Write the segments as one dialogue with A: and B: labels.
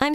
A: I'm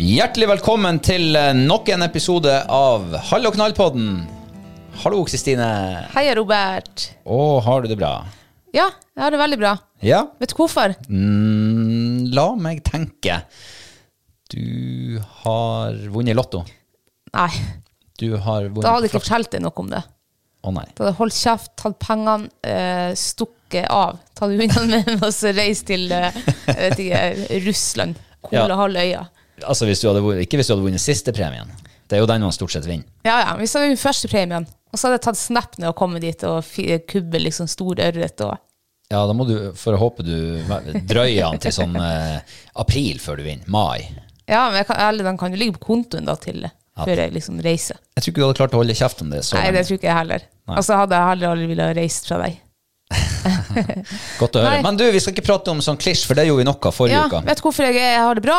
B: Hjertelig velkommen til eh, nok en episode av Hall og knall-podden. Hallo, Kristine.
C: Hei, Robert.
B: Å, har du det bra?
C: Ja, jeg har det veldig bra.
B: Ja?
C: Vet du hvorfor?
B: Mm, la meg tenke. Du har vunnet Lotto.
C: Nei,
B: Du har vunnet
C: da hadde jeg ikke
B: flaks-
C: fortalt deg noe om det.
B: Å nei.
C: Da hadde jeg holdt kjeft, tatt pengene, eh, stukket av, tatt unna med meg og så reist til eh, jeg vet ikke, Russland. Kola
B: Ja.
C: halvøya.
B: Altså, hvis du hadde vunnet, ikke hvis du hadde vunnet siste premien. Det er jo den man stort sett vinner.
C: Ja, ja. Hvis det var den første premien, og så hadde jeg tatt snap når jeg kom dit og fi- kubbe liksom stor ørret og
B: Ja, da må du, for å håpe du drøyer den til sånn eh, april før du vinner. Mai.
C: Ja, men jeg kan, eller den kan jo ligge på kontoen da til før jeg liksom reiser.
B: Jeg tror ikke du hadde klart å holde kjeft om det. Så
C: Nei, det
B: lenge.
C: tror ikke jeg heller.
B: Sånn. Nei.
C: Altså hadde jeg heller aldri ville ha reist fra deg.
B: Godt å høre.
C: Nei.
B: Men du, vi skal ikke prate om sånn klisj, for det gjorde vi nok av forrige
C: Ja,
B: uke.
C: vet du hvorfor jeg, jeg har det bra?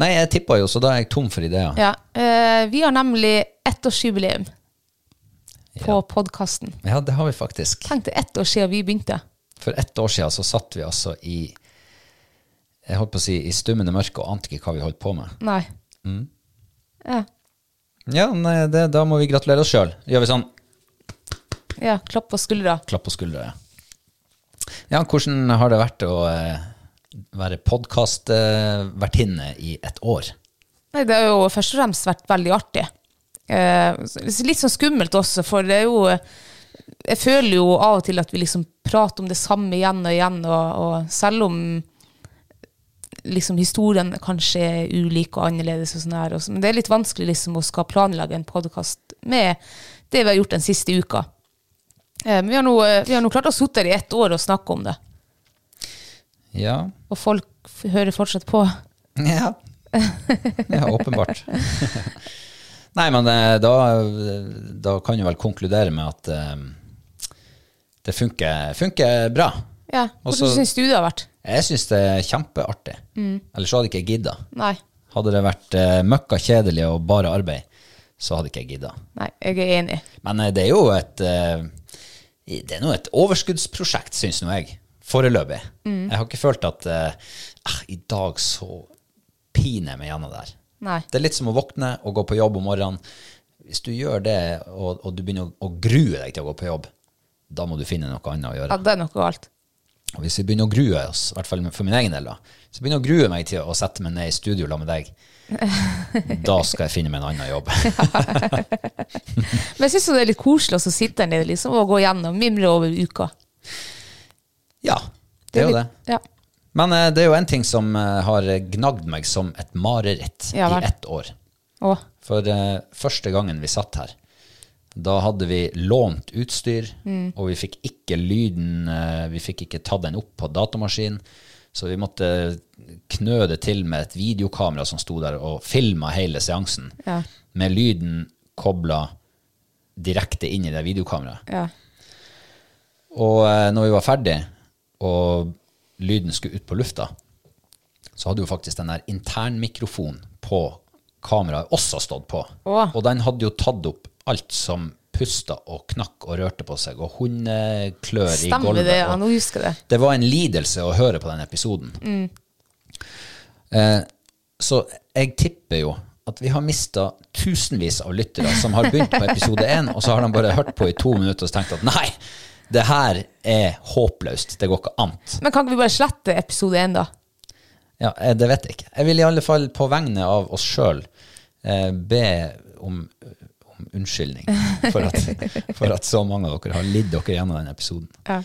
B: Nei, jeg tippa jo, så da er jeg tom for ideer.
C: Ja, eh, vi har nemlig ettårsjubileum på
B: Ja.
C: podkasten.
B: Ja, det har vi faktisk.
C: Tenk det er ett år siden vi begynte.
B: For ett år siden så satt vi altså i jeg holdt på å si i stummende mørke og ante ikke hva vi holdt på med.
C: Nei. Ja,
B: Ja, nei, det, Da må vi gratulere oss sjøl. Gjør vi sånn
C: ja, klapp på skuldra.
B: klapp på skuldra. Ja, Ja, hvordan har det vært å eh, være podkastvertinne i et år?
C: Nei, det har jo først og fremst vært veldig artig. Eh, s- litt sånn skummelt også, for det er jo Jeg føler jo av og til at vi liksom prater om det samme igjen og igjen, og, og selv om liksom historien kanskje er ulik og annerledes, og sånn her, og så- men det er litt vanskelig liksom å skal planlegge en podkast med det vi har gjort den siste uka. Eh, men vi har nå, eh, vi har nå klart å sitte her i ett år og snakke om det,
B: Ja.
C: og folk f hører fortsatt på.
B: Ja. ja åpenbart. Nei, men eh, da, da kan jeg vel konkludere med at eh, det funker, funker bra.
C: Ja, altså
B: Og
C: Hvordan
B: så-
C: syns du det har vært?
B: Jeg syns det er kjempeartig. Ellers så hadde ikke jeg gidda.
C: Nei.
B: Hadde det vært eh, møkka kjedelig og bare arbeid, så hadde ikke jeg gidda.
C: Nei, jeg er enig.
B: Men eh, det er jo et eh, Det er nå et overskuddsprosjekt, syns nå jeg. Foreløpig. Jeg har ikke følt at eh, ah, I dag så piner jeg meg gjennom det her.
C: Nei.
B: Det er litt som å våkne og gå på jobb om morgenen. Hvis du gjør det, og, og du begynner å, å grue deg til å gå på jobb, da må du finne noe annet å
C: Ja,
B: gjøre.
C: det er noe galt.
B: Og hvis vi begynner å grue oss, i hvert fall for min egen del, da, så begynner jeg å grue meg til å sette meg ned i studio sammen med deg. Da skal jeg finne meg en annen jobb.
C: Men jeg syns det er litt koselig også å sitte der nede liksom, og gå gjennom, mimre over uka.
B: Ja, det er jo det.
C: litt- Ja.
B: Men eh, det er jo en ting som eh, har gnagd meg som et mareritt
C: Ja vel.
B: i ett år.
C: Å,
B: For eh, første gangen vi satt her, da hadde vi lånt utstyr, og vi fikk ikke lyden eh, Vi fikk ikke tatt den opp på datamaskin, så vi måtte knø det til med et videokamera som sto der og filma hele seansen,
C: Ja.
B: med lyden kobla direkte inn i det videokameraet.
C: ja.
B: Og eh, når vi var ferdig, og lyden skulle ut på lufta, så hadde jo faktisk den der internmikrofonen på kameraet også stått på.
C: Åh.
B: Og den hadde jo tatt opp alt som pusta og knakk og rørte på seg, og hundeklør i
C: Stemmer
B: gulvet.
C: det? Ja,
B: og-
C: nå husker jeg det.
B: det var en lidelse å høre på den episoden. Eh, så jeg tipper jo at vi har mista tusenvis av lyttere som har begynt på episode én, og så har de bare hørt på i to minutter og så tenkt at nei, det her er håpløst. Det går ikke an.
C: Men kan ikke vi bare slette episode én, da?
B: Ja, eh, det vet jeg ikke. Jeg vil i alle fall på vegne av oss sjøl eh, be om, om unnskyldning for at, for at så mange av dere har lidd dere gjennom den episoden.
C: Ja.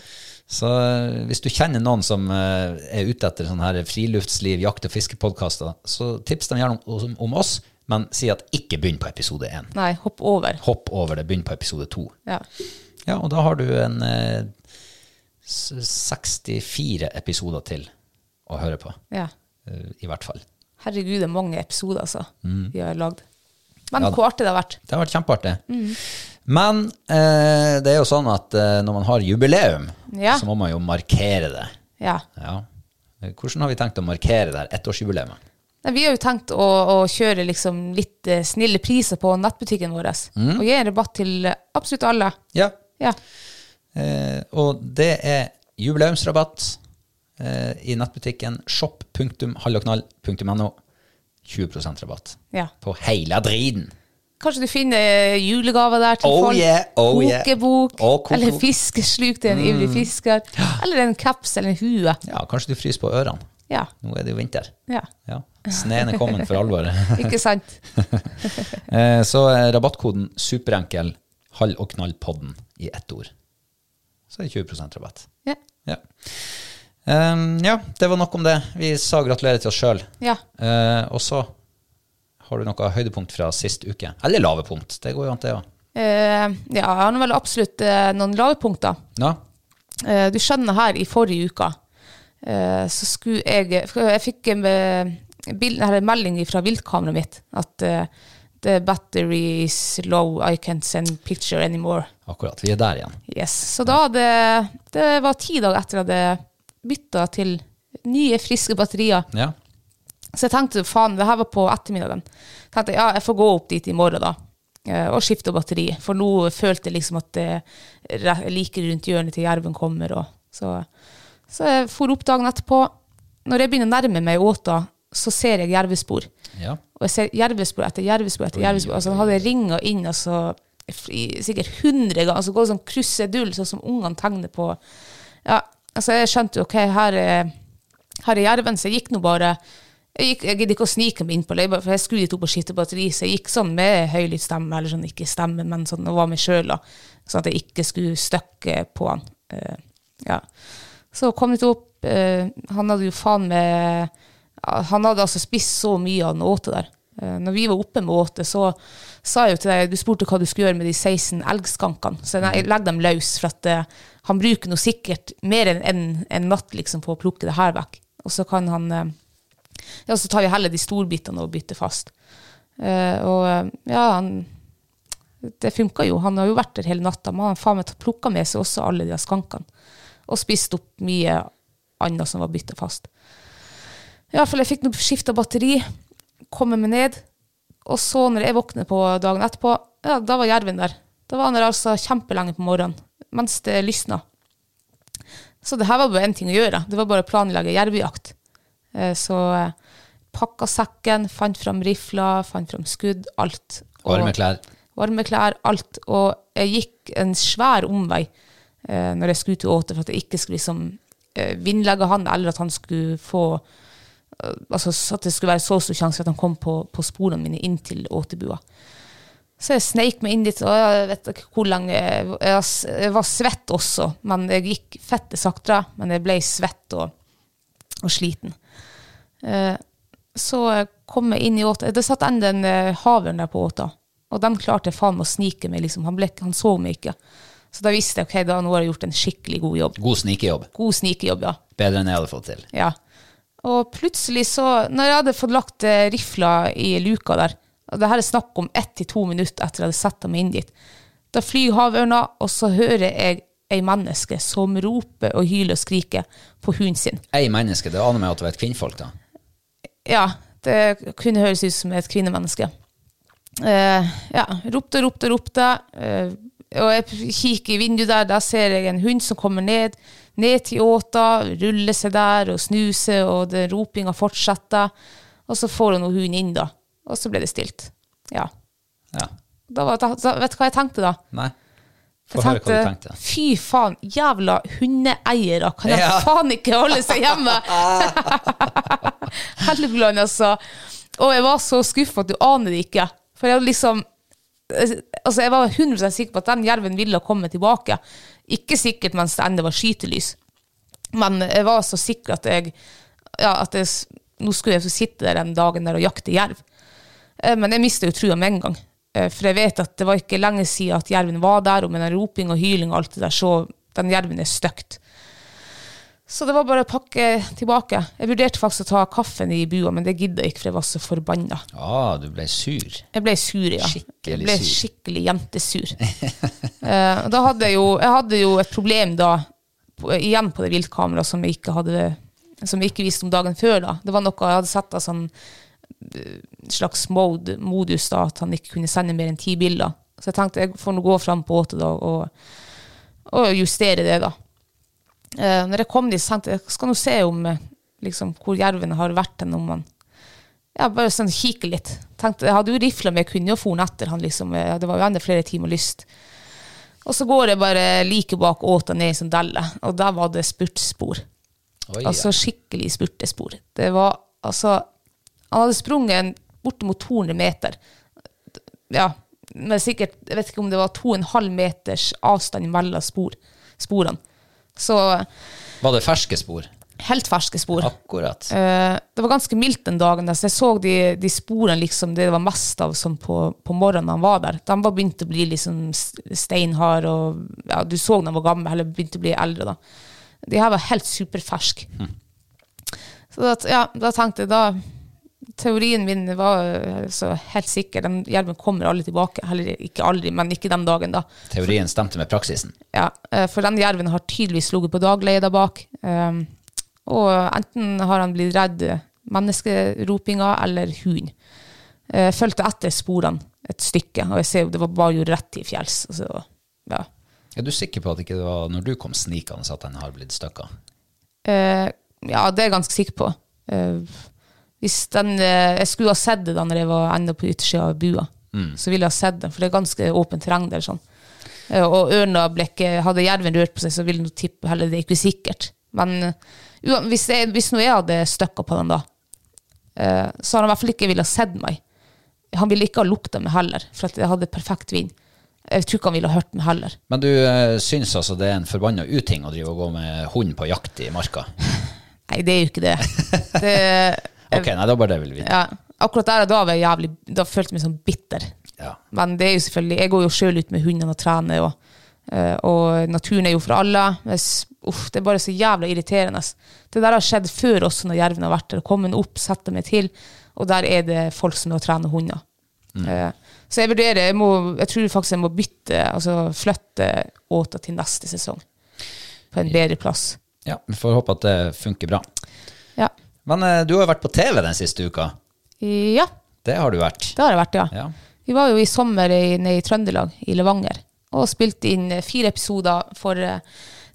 B: Så eh, hvis du kjenner noen som eh, er ute etter sånne her friluftsliv, jakt- og fiskepodkaster, så tips dem gjerne om, om, om oss, men si at ikke begynn på episode én.
C: Nei, hopp over.
B: Hopp over det, begynn på episode to.
C: Ja.
B: Ja, og da har du en eh, s- 64 episoder til å høre på,
C: ja.
B: eh, i hvert fall.
C: Herregud, det er mange episoder altså, vi har lagd. Men
B: Mm. Ja da.
C: hvor artig det har vært.
B: Det har vært kjempeartig. Men eh, det er jo sånn at eh, når man har jubileum,
C: Ja.
B: så må man jo markere det.
C: Ja.
B: Ja. Eh, Hvordan har vi tenkt å markere det her ettårsjubileet?
C: Nei, vi har jo tenkt å, å kjøre liksom litt eh, snille priser på nettbutikken vår.
B: Mm.
C: Og gi en rabatt til eh, absolutt alle.
B: Ja.
C: Ja.
B: Eh, og det er jubileumsrabatt eh, i nettbutikken shop.halloknall.no. 20 rabatt
C: ja.
B: på hele driten.
C: Kanskje du finner eh, julegaver der til
B: Oh
C: folk.
B: yeah, oh yeah. Mm.
C: Kokebok.
B: Og kokebok.
C: Eller fiskesluk til en ivrig fisker. Eller en kaps eller en hue.
B: Ja, kanskje du fryser på ørene.
C: Ja.
B: Nå er det jo vinter.
C: ja.
B: Ja. Sneen er kommet for alvor.
C: Ikke sant?
B: Eh, Så er rabattkoden superenkel halv og knallpodden i ett ord. Så er det 20 rabatt.
C: Ja.
B: Ja. Ehm, ja, det var nok om det. Vi sa gratulerer til oss sjøl.
C: ja.
B: Eh, og så har du noe høydepunkt fra sist uke. Eller lave punkt. Det går jo an, det òg.
C: Eh, ja, jeg har nå vel absolutt eh, noen lavepunkter.
B: Ja.
C: Eh, du skjønner her, i forrige uke eh, så skulle jeg for Jeg fikk en, eh, bild, her, en melding fra viltkameraet mitt at eh, the battery is low, I can't send picture anymore.
B: Akkurat. Vi er der igjen.
C: Yes. Så da hadde Det var ti dager etter at jeg hadde bytta til nye, friske batterier.
B: Ja.
C: Så jeg tenkte faen, det her var på ettermiddagen. Jeg tenkte ja, jeg får gå opp dit i morgen da, eh, og skifte batteri. For nå følte jeg liksom at det re- like rundt hjørnet til jerven kommer. Og, så, så jeg for opp dagen etterpå. Når jeg begynner å nærme meg åta, så ser jeg jervespor.
B: ja.
C: Og jeg ser jervespor etter jervespor etter jervespor. Altså, han hadde ringa inn altså, i, sikkert 100 ganger. Altså, går sånn krusedull, sånn som ungene tegner på. Ja, altså, jeg skjønte jo, ok, her er, her er jerven, så jeg gikk nå bare jeg, gikk, jeg gidder ikke å snike meg innpå løypa, for jeg skulle dit opp og skifte batteri, så jeg gikk sånn med høylytt stemme, eller sånn ikke stemme, men sånn, og var meg sjøl, da. Sånn at jeg ikke skulle støkke på han. Eh, ja. Så kom det opp, eh, han hadde jo faen med ja, Han hadde altså spist så mye av den åte der. Eh, når vi var oppe med åte, så sa jeg jo til deg, du spurte hva du skulle gjøre med de 16 elgskankene. Så nei, jeg legger dem løs, for at eh, han bruker nå sikkert mer enn en, en natt liksom, på å plukke det her vekk. Og så kan han eh, Ja, så tar vi heller de storbitene og bytter fast. Eh, og eh, ja, han det funka jo. Han har jo vært der hele natta, men han har faen meg plukka med seg også alle de her skankene. Og spist opp mye annet som var bytta fast. I hvert fall, jeg fikk skifta batteri, kommer meg ned, og så når jeg våkner på dagen etterpå, ja, da var jerven der. Da var han der altså kjempelenge på morgenen, mens det lysna. Så det her var bare én ting å gjøre. Det var bare å planlegge jervejakt. Eh, Så eh, pakka sekken, fant fram rifler, fant fram skudd, alt. Og-
B: Varme klær.
C: varme klær, alt. Og jeg gikk en svær omvei eh, når jeg skulle ut og åte, for at jeg ikke skulle liksom eh, vindlegge han, eller at han skulle få eh, Altså at det skulle være så stor sjanse for at han kom på, på sporene mine inn til åtebua. Så jeg sneik meg inn dit, og jeg vet ikke hvor lenge Jeg, jeg, jeg var svett også, men jeg gikk fette saktere, men jeg ble svett og og sliten. Eh, så kom jeg inn i åta. Det satt enda en eh, havørn der på åta. Og den klarte faen meg å snike meg. Liksom. Han, ble, ikke- han så meg ikke. Så da visste jeg ok, da nå har jeg gjort en skikkelig god jobb.
B: God snikejobb.
C: God snikejobb, ja.
B: Bedre enn jeg hadde fått til.
C: Ja. Og plutselig så, når jeg hadde fått lagt eh, rifla i luka der, og det her er snakk om ett til to minutter etter jeg hadde satt dem inn dit, da flyr havørna, og så hører jeg ei menneske som roper og hyler og skriker på hunden sin.
B: Ei menneske, det aner meg at det var et kvinnfolk, da.
C: Ja, det kunne høres ut som et kvinnemenneske. Eh, ja, ropte, ropte, ropte. eh, og jeg p- kikker i vinduet der, der ser jeg en hund som kommer ned, ned til åta, ruller seg der og snuser, og det- ropinga fortsetter. Og så får hun noe hunden inn, da. Og så ble det stilt. Ja.
B: Ja.
C: Da var, da, da- vet du hva jeg tenkte da?
B: Nei. Få
C: Jeg
B: høre hva du
C: tenkte,
B: tenkte.
C: fy faen, jævla hundeeiere, kan de
B: Ja.
C: faen ikke holde seg hjemme? Helligland, altså. Og jeg var så skuffa at du aner det ikke. For jeg hadde liksom Altså, jeg var 100 sikker på at den jerven ville komme tilbake. Ikke sikkert mens det ennå var skytelys, men jeg var så sikker at jeg ja, at jeg, s- Nå skulle jeg så sitte der den dagen der og jakte jerv. Eh, Men jeg mista jo trua med en gang. Eh, For jeg vet at det var ikke lenge siden at jerven var der, og med den roping og hyling og alt det der, så den jerven er støkt. Så det var bare å pakke tilbake. Jeg vurderte faktisk å ta kaffen i bua, men det gidda jeg ikke, for jeg var så forbanna.
B: Ah, du ble sur.
C: Jeg ble sur, ja. jeg
B: Skikkelig
C: ble
B: sur.
C: skikkelig jentesur. Eh, og da hadde jeg jo, jeg hadde jo et problem da, på, igjen på det viltkameraet som jeg ikke hadde som jeg ikke visste om dagen før. da. Det var noe jeg hadde sett av sånn eh, slags mode, modus da, at han ikke kunne sende mer enn ti bilder. Så jeg tenkte jeg får nå gå fram på åtte da, og, og justere det, da. Eh, når jeg kom dit, så tenkte jeg jeg skal nå se om eh, liksom, hvor jerven har vært hen, om han ja, bare sånn kikke litt. Tenkte, jeg hadde jo rifla, men jeg kunne jo foren etter han, liksom. Eh, Det var jo enda flere timer lyst. Og så går jeg bare like bak åta ned i sånn delle, og der var det spurtspor.
B: Oi,
C: Altså skikkelig spurtespor. Det var altså Han hadde sprunget en- bortimot 200 meter. Ja, men sikkert Jeg vet ikke om det var 2,5 meters avstand mellom spor, sporene. Så
B: ja. Var det ferske spor?
C: helt ferske spor.
B: Akkurat.
C: Eh, det var ganske mildt den dagen, der, så jeg så de, de sporene liksom, det det var mest av sånn på, på morgenen han var der. De var begynt å bli liksom s- steinhard, og ja, du så de var gamle, eller begynte å bli eldre. da. De her var helt superferske. Så da, t- ja, da tenkte jeg da Teorien min var eh, altså, helt sikker. Den hjelmen kommer aldri tilbake. Heller ikke aldri, men ikke den dagen, da.
B: Teorien stemte med praksisen.
C: Ja, eh, for den jerven har tydeligvis ligget på dagleie der bak. Ehm, Og enten har han blitt redd menneskeropinga eller hund. Jeg fulgte etter sporene et stykke, og jeg ser jo det var bare jo rett til fjells. og Så, ja.
B: Er du sikker på at ikke det var når du kom snikende at den har blitt støkka?
C: Eh, ja, det er jeg ganske sikker på. Eh, hvis den, eh, jeg skulle ha sett det da når jeg var enda på yttersida av bua. Så ville jeg ha sett det, for det er ganske åpent terreng der. sånn. Eh, og ørna ble ikke- Hadde jerven rørt på seg, så ville den tippe heller det er ikke sikkert. Men eh, ua- hvis, jeg, hvis nå jeg hadde støkka på den da, eh, så hadde han i hvert fall ikke ville ha sett meg. Han ville ikke ha lukta meg heller, for at jeg hadde perfekt vind. Jeg tror ikke han ville ha hørt meg heller.
B: Men du eh, syns altså det er en forbanna uting å drive og gå med hund på jakt i marka?
C: Nei, det er jo ikke det. det
B: Ok, nei, det var bare det jeg ville vite.
C: Ja. Akkurat der og da var jeg jævlig Da følte jeg meg sånn bitter.
B: Ja.
C: Men det er jo selvfølgelig Jeg går jo sjøl ut med hundene og trener, og, eh, og naturen er jo for alle. Jeg s- uff, det er bare så jævla irriterende. Det der har skjedd før også, når jerven har vært der. Kommer den opp, setter meg til, og der er det folk som er og trener hunder. Eh, Så jeg vurderer jeg, må, jeg tror faktisk jeg må bytte, altså flytte åta til neste sesong. På en bedre plass.
B: ja, Vi får håpe at det funker bra.
C: Ja.
B: Men eh, du har jo vært på TV den siste uka.
C: ja.
B: Det har du vært.
C: Det har det vært, ja.
B: Ja.
C: Vi var jo i sommer i, nede i Trøndelag, i Levanger, og spilte inn eh, fire episoder for eh,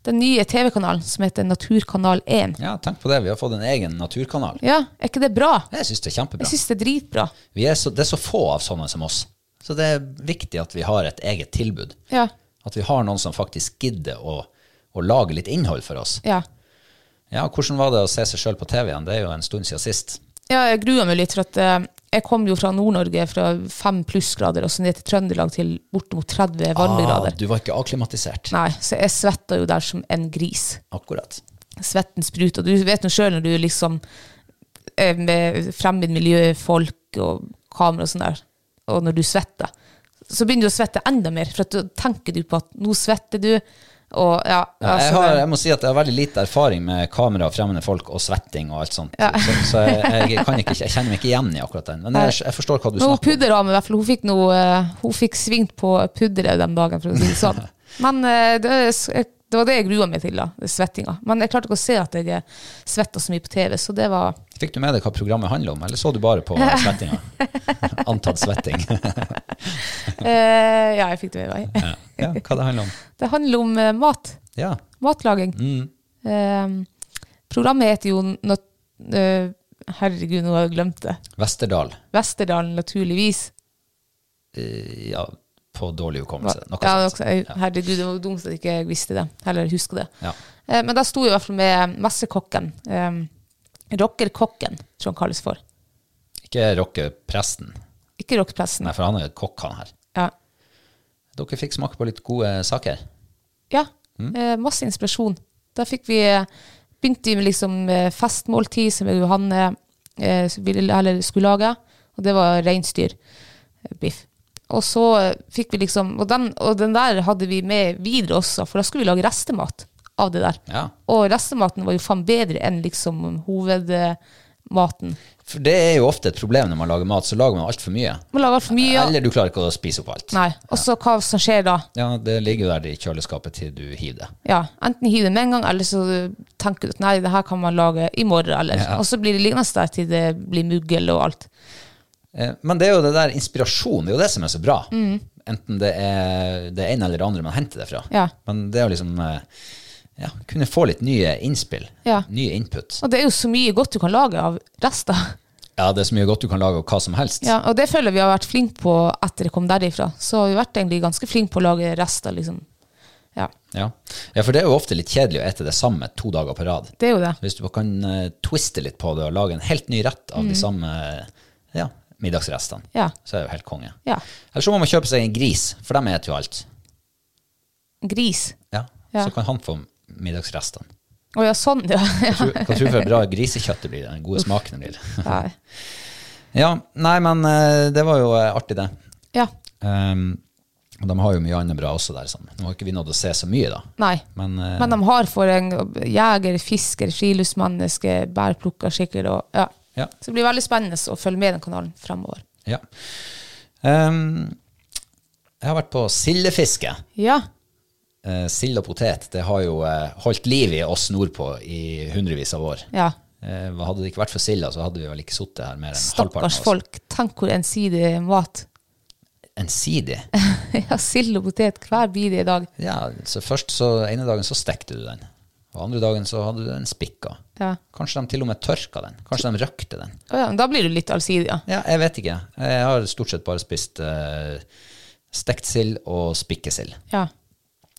C: den nye TV-kanalen som heter Naturkanal 1.
B: Ja, tenk på det. Vi har fått en egen naturkanal.
C: Ja, er ikke det bra?
B: Jeg syns det er
C: Jeg
B: kjempebra.
C: syns det er dritbra.
B: Vi er så, det er så få av sånne som oss. Så det er viktig at vi har et eget tilbud.
C: Ja.
B: At vi har noen som faktisk gidder å, å lage litt innhold for oss.
C: ja.
B: Ja, Hvordan var det å se seg sjøl på TV igjen? Det er jo en stund siden sist.
C: Ja, jeg grua meg litt, for at eh, jeg kom jo fra Nord-Norge fra fem plussgrader og så ned til Trøndelag til bortimot
B: Ah,
C: 30 varmegrader.
B: du var ikke akklimatisert.
C: Nei, så jeg svetta jo der som en gris.
B: Akkurat.
C: svetten spruter. Du vet nå sjøl når du liksom eh, med fremmed miljø, folk og kamera og sånn der, og når du svetter, så begynner du å svette enda mer, for at da tenker du på at nå svetter du, og ja.
B: Ja, jeg,
C: altså,
B: har, jeg må si at jeg har veldig lite erfaring med kamera, fremmede folk og svetting og alt sånt. Så, så jeg, jeg, kan ikke, jeg kjenner meg ikke igjen i akkurat den. Men jeg, jeg forstår hva du
C: Men hun
B: snakker om.
C: pudderamen, i hvert fall, hun fikk, noe, eh, hun fikk svingt på pudderet den dagen, for å si det sånn. Men eh, det, det var det jeg grua meg til, da, det svettinga. Men jeg klarte ikke å se at jeg svetta så mye på TV, så det var
B: Fikk du med deg hva programmet handler om, eller så du bare på svettinga? Antatt svetting.
C: eh, Ja, jeg fikk det med meg.
B: Ja, hva det handler om.
C: Det handler om eh, mat.
B: Ja.
C: Matlaging.
B: Mm.
C: Eh, programmet heter jo Nat... eh, herregud, nå har jeg glemt det.
B: Vesterdal.
C: Vesterdalen, naturligvis.
B: Ja, på dårlig hukommelse. Noe
C: ja,
B: sånt.
C: noe sånt. Herregud, det var dumt at jeg ikke visste det. Eller husker det.
B: Ja.
C: Eh, Men da sto jeg i hvert fall med messekokken. Um, rockerkokken, tror han kalles for.
B: Ikke rockepresten.
C: Ikke rockpressen.
B: Nei, for han er jo kokk, han her.
C: Ja.
B: Dere fikk smake på litt gode saker.
C: ja. Eh, masse inspirasjon. Da fikk vi begynte vi med liksom eh, festmåltid som Johanne eh, ville, eller skulle lage, og det var reinsdyr. eh, Biff. Og så eh, fikk vi liksom og den, og den der hadde vi med videre også, for da skulle vi lage restemat av det der.
B: Ja.
C: Og restematen var jo faen bedre enn liksom hovedmaten.
B: For det er jo ofte et problem når man lager mat, så lager man altfor mye.
C: Man lager for mye.
B: Eller du klarer ikke å spise opp alt.
C: Nei. Og så hva som skjer da?
B: Ja, det ligger jo der i kjøleskapet til du hiver det.
C: Ja, enten hiv det med en gang, eller så tenker du at nei, det her kan man lage i morgen, eller. Og så blir det liggende der til det blir muggel og alt.
B: Eh, Men det er jo det der inspirasjon, det er jo det som er så bra.
C: Mm.
B: Enten det er det ene eller det andre man henter det fra.
C: Ja.
B: Men det er jo liksom eh, ja, kunne få litt nye innspill.
C: Ja.
B: Nye input.
C: Og det er jo så mye godt du kan lage av rester.
B: Ja, det er så mye godt du kan lage av hva som helst.
C: Ja, og det føler jeg vi har vært flinke på etter det kom derifra. Så har vi vært egentlig ganske flinke på å lage rester, liksom. Ja,
B: Ja. ja, for det er jo ofte litt kjedelig å ete det samme to dager på rad.
C: det er jo det.
B: Så hvis du kan eh, twiste litt på det og lage en helt ny rett
C: Mm.
B: av de samme ja, middagsrestene,
C: Ja.
B: så er det jo helt konge.
C: Ja.
B: Eller så må man kjøpe seg en gris, for de eter jo alt.
C: Gris.
B: Ja.
C: Ja.
B: Så kan han få middagsrestene.
C: Å ja, sånn, ja.
B: Hva tror- Hva tror du for bra grisekjøtt det blir? Den gode smaken det blir.
C: Ja.
B: Ja, nei, men eh, det var jo eh, artig, det.
C: ja.
B: Ehm, og de har jo mye annet bra også der. Sånn. Nå har ikke vi nådd å se så mye, da.
C: Nei.
B: Men, eh,
C: Men de har for en jeger, fisker, friluftsmenneske, bærplukker sikkert, og ja.
B: Ja.
C: Så det blir veldig spennende å følge med den kanalen fremover.
B: ja. Ehm, jeg har vært på sildefiske.
C: Ja.
B: Eh, sild og potet det har jo eh, holdt liv i oss nordpå i hundrevis av år.
C: ja.
B: Eh, hva hadde det ikke vært for silda, så hadde vi vel ikke sittet her mer enn halvparten
C: Stakkars
B: av oss.
C: folk. Tenk hvor ensidig mat.
B: Ensidig.
C: ja, sild og potet hver bit i dag.
B: Ja, så først så ene dagen så stekte du den. Og andre dagen så hadde du den spikka.
C: Ja.
B: Kanskje de til og med tørka den. Kanskje de røkte den.
C: Å ja, men da blir du litt allsidig, ja.
B: Ja, jeg vet ikke. Jeg har stort sett bare spist eh, stekt sild og spikkesild.
C: Ja,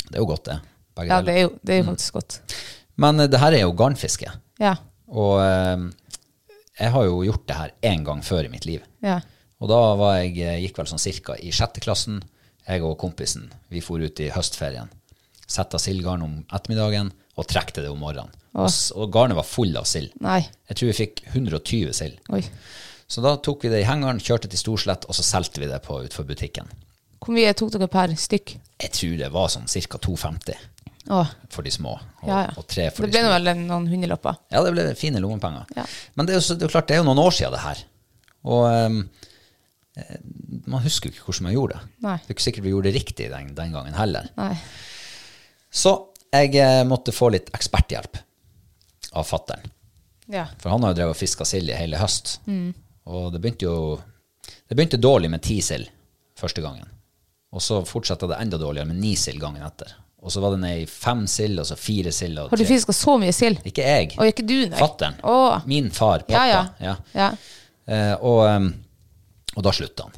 B: Det er Mm. jo godt, det. Begge
C: ja det,
B: deler.
C: er jo, det er jo faktisk godt.
B: Men eh, det her er jo garnfiske.
C: Ja.
B: Og eh, jeg har jo gjort det her én gang før i mitt liv.
C: ja.
B: Og da var jeg, eh, gikk vel sånn cirka i sjette klassen. Jeg og kompisen vi for ut i høstferien. Setta sildgarn om ettermiddagen og trekte det om morgenen. Og, s- og garnet var full av sild.
C: Nei.
B: Jeg tror vi fikk 120 sild.
C: Oi.
B: Så da tok vi det i hengeren, kjørte til Storslett, og så solgte vi det på utenfor butikken.
C: Hvor mye tok dere per stykk?
B: Jeg tror det var sånn ca. 2,50
C: Å,
B: for de små, og,
C: ja, ja.
B: og tre for de
C: det ble nå
B: store.
C: vel en- noen hundrelapper.
B: Ja, det ble fine lommepenger.
C: Ja.
B: Men det er, jo, så- det er jo klart, det er jo noen år siden det her. Og ehm, eh, man husker jo ikke hvordan man gjorde det.
C: Nei.
B: Det er ikke sikkert vi gjorde det riktig den, den gangen heller.
C: Nei.
B: Så jeg eh, måtte få litt eksperthjelp av fatteren.
C: Ja.
B: For han har jo drevet og fiska sild i hele høst.
C: Mm.
B: Og det begynte jo Det begynte dårlig med ti sild første gangen. Og så fortsatte det enda dårligere med ni sild gangen etter. Og så var det ned i fem sild, og så fire sild og
C: Har du
B: tre.
C: fiska så mye sild?
B: Ikke jeg.
C: Å, ikke du, nei.
B: Fatteren.
C: Å.
B: Min far, pappa.
C: Ja,
B: Ja.
C: ja. Ja.
B: Eh, og, ehm, og da slutta han.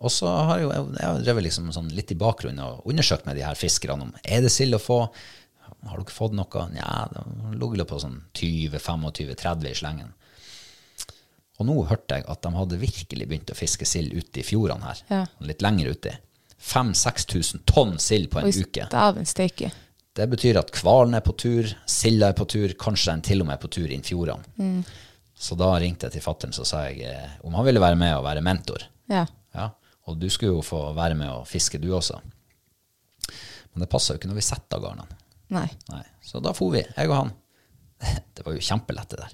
B: Og så har jeg jo jeg, jeg har drevet liksom sånn litt i bakgrunnen og undersøkt med de her fiskerne om er det sild å få. Har dere fått noe? Nja, det har ligget på sånn 20-25-30 i slengen. Og nå hørte jeg at de hadde virkelig begynt å fiske sild ute i fjordene her.
C: Ja.
B: Litt lenger uti. 5000-6000 tonn sild på en
C: Oi,
B: uke.
C: dæven steike.
B: Det betyr at hvalen er på tur, silda er på tur, kanskje den til og med er på tur inn fjordene. Så da ringte jeg til fattern og sa jeg, eh, om han ville være med og være mentor.
C: Ja.
B: Ja, og du skulle jo få være med og fiske du også. Men det passa jo ikke når vi setta garnene.
C: Nei.
B: Nei. Så da for vi, jeg og han. Det var jo kjempelett det der.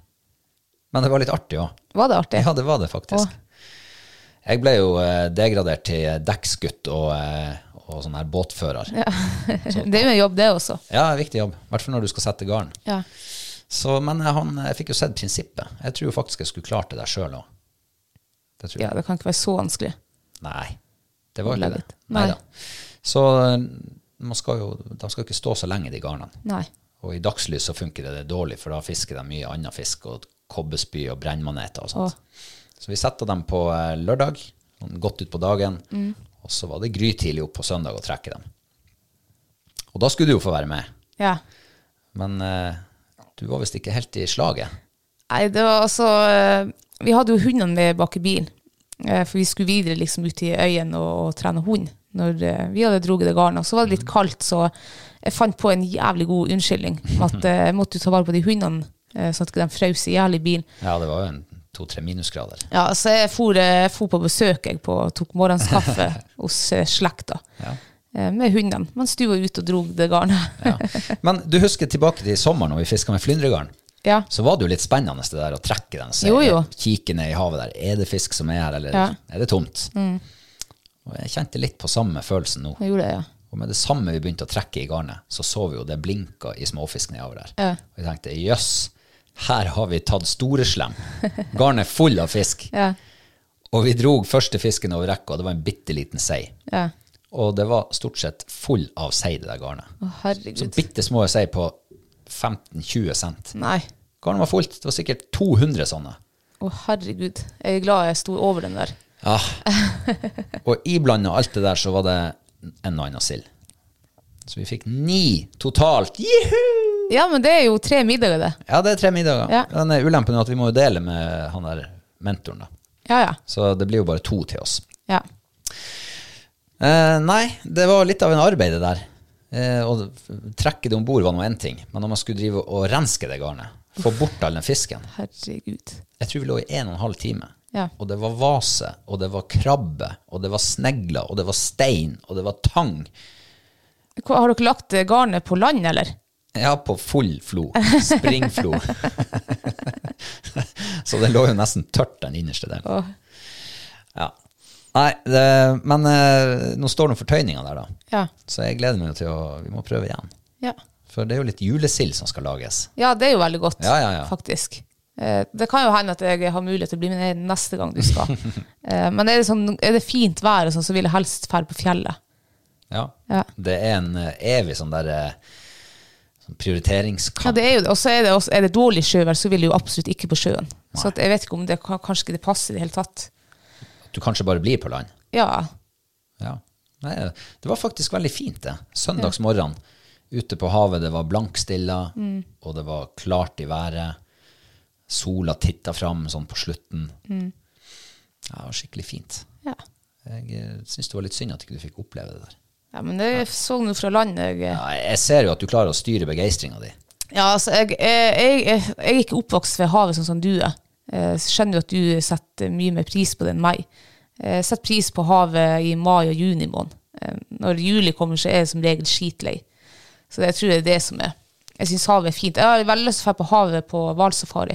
B: Men det var litt artig òg.
C: Var det artig?
B: Ja, det var det faktisk. Jeg ble jo eh, degradert til dekksgutt og, eh, og sånn her båtfører. Ja.
C: det er jo en jobb, det også.
B: viktig jobb. I hvert fall når du skal sette garn.
C: Ja.
B: Så, men eh, han, jeg fikk jo sett prinsippet. Jeg tror jo faktisk jeg skulle klart det der sjøl òg. Det tror jeg.
C: ja, det kan ikke være så vanskelig.
B: Nei, det var ikke
C: Legg
B: det.
C: ut.
B: Nei
C: Nei.
B: da. Så eh, man skal jo, de skal ikke stå så lenge, de garnene.
C: Nei.
B: Og i dagslys så funker det dårlig, for da fisker de mye annen fisk, og kobbespy og brennmaneter og sånt. Så vi setter dem på eh, lørdag, sånn godt ut på dagen, og så var det grytidlig opp på søndag å trekke dem. Og da skulle du jo få være med,
C: Ja.
B: men eh, du var visst ikke helt i slaget.
C: Nei, det var altså eh, Vi hadde jo hundene med bak i bilen. eh, For vi skulle videre liksom ut i øyen og, og trene hund. Når eh, vi hadde droget det garnet. Og så var det
B: Mm.
C: litt kaldt, så jeg fant på en jævlig god unnskyldning. om At eh, jeg måtte jo ta vare på de hundene, eh, sånn at ikke de frøs i hjel i bilen.
B: Ja, det var jo en to-tre minusgrader.
C: Ja, så jeg for, eh, for på besøk jeg på, tok morgenskaffe hos eh, slekta.
B: Ja.
C: eh, Med hundene, mens du var ute og drog det garnet.
B: Ja. Men du husker tilbake til i sommer når vi fiska med flyndregarn?
C: Ja.
B: Så var det jo litt spennende det der å trekke den, se,
C: Jo, jo.
B: kikke ned i havet der. Er det fisk som er her, eller
C: Ja. Mm.
B: er det tomt? Og jeg kjente litt på samme følelsen nå.
C: Jeg gjorde det, ja.
B: Og med det samme vi begynte å trekke i garnet, så så vi jo det blinka i småfisk nedover der.
C: Ja.
B: Og vi tenkte jøss, her har vi tatt store slem. Garnet er full av fisk.
C: Ja,
B: Og vi drog første fisken over rekka, og det var en bitte liten sei.
C: ja.
B: Og det var stort sett full av sei, det der garnet.
C: Å,
B: Så
C: herregud.
B: bitte små sei på 15-20 cent.
C: Nei.
B: Garnet var fullt. Det var sikkert 200 sånne.
C: Å, herregud. Jeg er glad jeg sto over den der.
B: Ja. Og iblanda alt det der, så var det en og annen sild. Så vi fikk ni totalt. Juhu!
C: Ja, men det er jo tre middager, det.
B: Ja, det er tre middager.
C: Ja.
B: Den er ulempen er at vi må jo dele med han der mentoren, da.
C: Ja, ja.
B: Så det blir jo bare to til oss.
C: ja.
B: Eh, nei, det var litt av en arbeid, det der. Eh, å trekke det om bord var nå én ting, men når man skulle drive og renske det garnet, få bort all den fisken
C: Herregud.
B: Jeg tror vi lå i en og en halv time.
C: Ja.
B: Og det var vase, og det var krabbe, og det var snegler, og det var stein, og det var tang.
C: Hva- Har dere lagt eh, garnet på land, eller?
B: Ja, på full flo. Springflo. så det lå jo nesten tørt, den innerste delen.
C: Åh.
B: Ja. Nei, det, men eh, nå står nå fortøyninga der, da.
C: Ja.
B: Så jeg gleder meg jo til å Vi må prøve igjen.
C: ja.
B: For det er jo litt julesild som skal lages.
C: Ja, det er jo veldig godt,
B: Ja, ja, ja.
C: faktisk. Eh, Det kan jo hende at jeg har mulighet til å bli med ned neste gang du skal. Eh, Men er det, sånn, er det fint vær, og sånn, så vil jeg helst dra på fjellet.
B: Ja.
C: Ja.
B: Det er en eh, evig sånn der eh, sånn
C: Ja,
B: prioriteringskamp.
C: det er jo det. Og så er det, også, er det dårlig sjøvær, så vil jeg jo absolutt ikke på sjøen. Så at jeg vet ikke om det kan- kanskje ikke det passer i det hele tatt.
B: Du kanskje bare blir på land.
C: Ja.
B: Ja. Nei, det var faktisk veldig fint det. Søndags morgen ute på havet, det var blankstilla, og det var klart i været. Sola titta fram sånn på slutten. Ja, det var skikkelig fint.
C: ja.
B: Jeg eh, syns det var litt synd at ikke du fikk oppleve det der.
C: Ja, men det så nå fra land. Jeg, eh,
B: Ja, jeg ser jo at du klarer å styre begeistringa di.
C: Ja, altså, jeg, jeg, jeg, eh, jeg er ikke oppvokst ved havet sånn som du er. Jeg skjønner jo at du setter mye mer pris på det enn meg. Jeg setter pris på havet i mai og juni måned. Eh, Når juli kommer, så er jeg som regel skitlei. Så det, jeg tror det er det som er. Jeg syns havet er fint. Jeg har veldig lyst til å dra på havet på hvalsafari.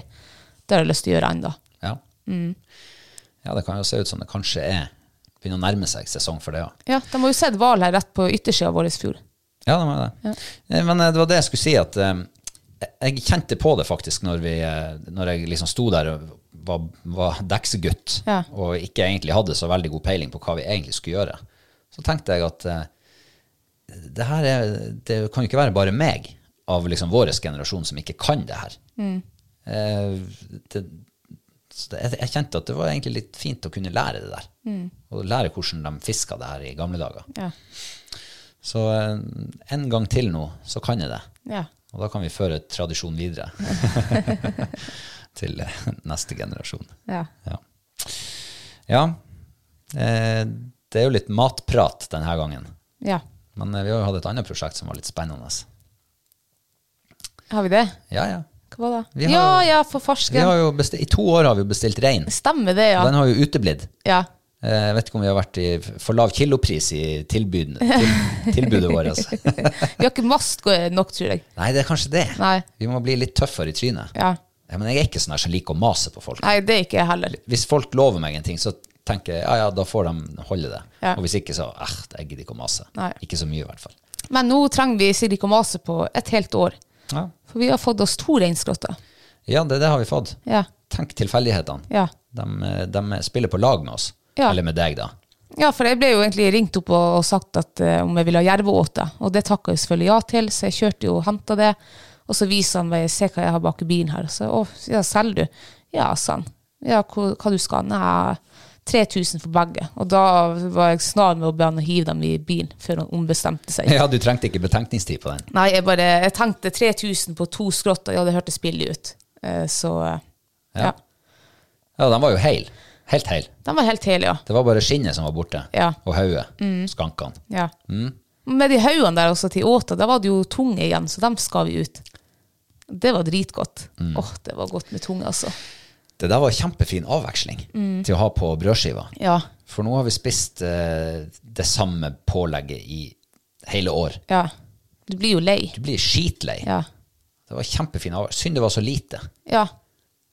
C: Det har jeg lyst til å gjøre ennå.
B: Ja. ja, det kan jo se ut som det kanskje er Begynner å nærme seg sesong for det òg.
C: Ja, de har jo sett hval her rett på yttersida av vår fjord.
B: Ja, det var det. Eh, Men eh, det var det jeg skulle si, at eh, jeg kjente på det faktisk når, vi, eh, når jeg liksom sto der og var, var deksegutt
C: Ja.
B: og ikke egentlig hadde så veldig god peiling på hva vi egentlig skulle gjøre. Så tenkte jeg at eh, det her er, det kan jo ikke være bare meg av liksom vår generasjon som ikke kan det her. Eh, det, så det, jeg- jeg kjente at det var egentlig litt fint å kunne lære det der. Og lære hvordan de fiska det her i gamle dager.
C: Ja.
B: Så eh, en gang til nå, så kan jeg det.
C: Ja.
B: Og da kan vi føre tradisjonen videre til eh, neste generasjon.
C: ja.
B: Ja. ja. Eh, Det er jo litt matprat denne gangen.
C: ja.
B: Men eh, vi har jo hatt et annet prosjekt som var litt spennende.
C: Har vi det?
B: Ja, ja.
C: Hva var det?
B: Vi har-
C: ja, ja, for
B: Vi har
C: farsken.
B: jo bestilt, I to år har vi jo bestilt rein.
C: Stemmer det, ja.
B: Den har jo uteblitt.
C: ja.
B: Eh, Jeg vet ikke om vi har vært i for lav kilopris i tilbud, til, tilbudet vårt. altså.
C: Vi har ikke mast nok, tror jeg.
B: Nei, det er kanskje det.
C: Nei.
B: Vi må bli litt tøffere i trynet.
C: Ja.
B: Ja, men jeg er ikke sånn her som liker å mase på folk.
C: Nei, det er ikke jeg heller.
B: Hvis folk lover meg en ting, så tenker jeg ja, ja, da får de holde det.
C: Ja.
B: Og hvis ikke, så eh, jeg gidder ikke å mase.
C: Nei.
B: Ikke så mye, i hvert fall.
C: Men nå trenger vi Siri ikke å mase på et helt år.
B: Ja,
C: For vi har fått oss to reinskrotter.
B: ja det, det har vi fått.
C: Ja.
B: Tenk tilfeldighetene.
C: Ja.
B: De, eh, de spiller på lag med oss.
C: Ja.
B: Eller med deg, da.
C: ja, for jeg ble jo egentlig ringt opp og, og sagt at, eh, om jeg ville ha jerveåte. Og det takka jeg selvfølgelig ja til, så jeg kjørte jo og henta det. Og så viser han meg se hva jeg har bak i bilen her. Så å, ja, selger du? Ja, sa han. Ja, hva, hva du skal? Nei, 3000 for begge. Og da var jeg snar med å be han å hive dem i bilen før han ombestemte seg.
B: Ja, du trengte ikke betenkningstid på den.
C: Nei, jeg bare jeg tenkte 3000 på to skrått, og ja, det hørtes billig ut. Eh, Så eh, ja.
B: Ja, den var jo heil. Helt heil.
C: Den var helt hel, ja.
B: Det var bare skinnet som var borte.
C: Ja. Mm.
B: Og hodet. Skankene.
C: ja. Med de haugene der også til åta, da var det jo tunge igjen, så dem skal vi ut. Det var dritgodt. Åh, det var godt med tunge, altså.
B: Det der var kjempefin avveksling
C: Mm.
B: til å ha på brødskiva.
C: Ja.
B: For nå har vi spist eh, det samme pålegget i hele år.
C: ja. Du blir jo lei.
B: Du blir skitlei.
C: Ja.
B: Det var kjempefin avveksling. Synd det var så lite.
C: Ja.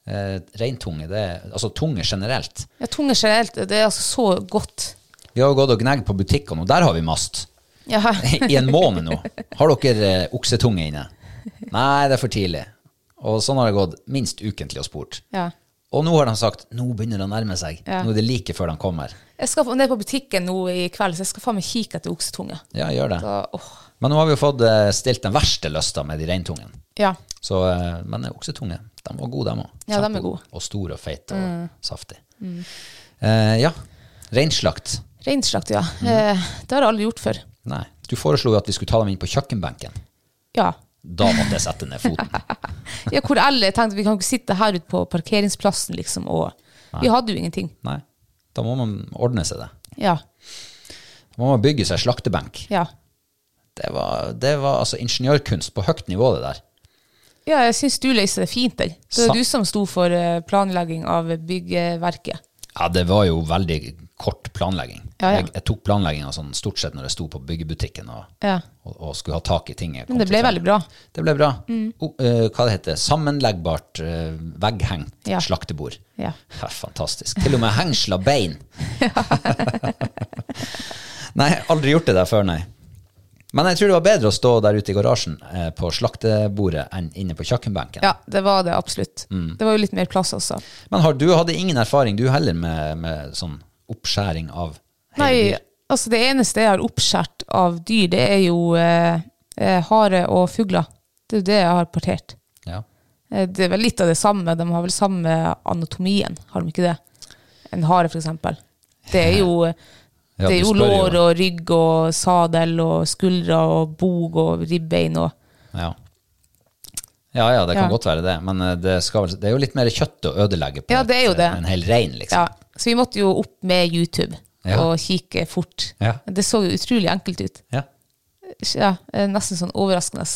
B: Eh, reintunge, det er, altså tunge generelt.
C: ja tunge generelt, det er altså så godt.
B: Vi har jo gått og gnagd på butikkene, og der har vi mast.
C: Ja.
B: I en måned nå. Har dere eh, oksetunge inne? Nei, det er for tidlig. Og sånn har det gått minst ukentlig og spurt.
C: ja.
B: Og nå har de sagt nå begynner det å nærme seg.
C: Ja.
B: Nå er det like før de kommer.
C: Jeg skal ned på butikken nå i kveld, så jeg skal faen meg kikke etter oksetunge.
B: Ja, gjør det.
C: Da, åh.
B: Men nå har vi jo fått eh, stilt den verste lysta med de reintungene.
C: Ja.
B: Så, eh, men oksetunge, de var gode, de òg.
C: Ja, de er gode. Mm.
B: Og store og feite og saftige. Eh, ja. Reinslakt.
C: Reinslakt, ja. Eh, Det har jeg aldri gjort før.
B: Nei. Du foreslo jo at vi skulle ta dem inn på kjøkkenbenken.
C: Ja.
B: Da måtte jeg sette ned foten.
C: ja hvor alle tenkte vi kan ikke sitte her ute på parkeringsplassen, liksom, og Vi hadde jo ingenting.
B: Nei. Da må man ordne seg det.
C: Ja.
B: Da må man bygge seg slaktebenk.
C: Ja.
B: Det var, det var altså ingeniørkunst på høyt nivå, det der.
C: ja jeg syns du løser det fint, jeg. Det
B: Sa-
C: er du som sto for eh, planlegging av byggverket.
B: Ja, det var jo veldig kort planlegging.
C: Ja, ja.
B: Jeg, jeg tok planlegginga sånn stort sett når jeg sto på byggebutikken og,
C: Ja.
B: og, og skulle ha tak i ting. jeg kom
C: Men det
B: til
C: ble
B: selv.
C: veldig bra.
B: Det ble bra.
C: Mm.
B: O- eh, hva det heter Sammenleggbart eh, vegghengt
C: Ja.
B: slaktebord.
C: Ja.
B: Ja, fantastisk. Til og med hengsla bein. nei, aldri gjort det der før, nei. Men jeg tror det var bedre å stå der ute i garasjen eh, på slaktebordet enn inne på kjøkkenbenken.
C: Ja, det var det absolutt.
B: Mm.
C: Det var jo litt mer plass også.
B: Men har, du hadde ingen erfaring du heller med, med sånn oppskjæring av hele
C: Nei,
B: dyr?
C: altså det eneste jeg har oppskjært av dyr, det er jo eh, eh, hare og fugler. Det er jo det jeg har partert.
B: Ja.
C: Eh, Det er vel litt av det samme. De har vel samme anatomien, har de ikke det? En hare, for eksempel. Det er jo,
B: Ja,
C: det er
B: du
C: jo
B: spør jo.
C: lår og rygg og sadel og skuldre og bog og ribbein og
B: Ja. ja, ja, det kan
C: Ja.
B: godt være det. Men eh, det, skal, vel- det er jo litt mer kjøtt å ødelegge på
C: Ja, det er jo
B: et,
C: det.
B: eh, en hel rein, liksom.
C: ja. Så vi måtte jo opp med YouTube
B: Ja.
C: og kikke fort.
B: Ja.
C: Det så jo utrolig enkelt ut.
B: Ja.
C: Ja, eh, nesten sånn overraskende.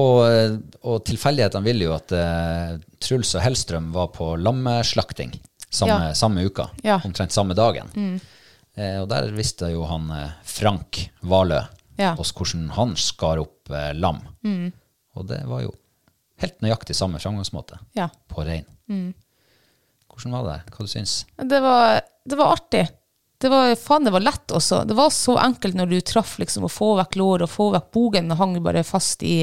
B: Og, eh, og tilfeldighetene ville jo at eh, Truls og Hellstrøm var på lammeslakting samme,
C: Ja.
B: samme uka,
C: Ja. Mm.
B: omtrent samme dagen. Eh, og der visste jo han eh, Frank Valø
C: Ja. Mm.
B: oss hvordan han skar opp eh, lam. Og det var jo helt nøyaktig samme framgangsmåte
C: Ja. Mm.
B: på rein. Hvordan var det? Hva du syns du?
C: Det var, det var artig. Det var, faen, det var lett også. Det var så enkelt når du traff liksom, å få vekk låret og få vekk bogen. og hang bare fast i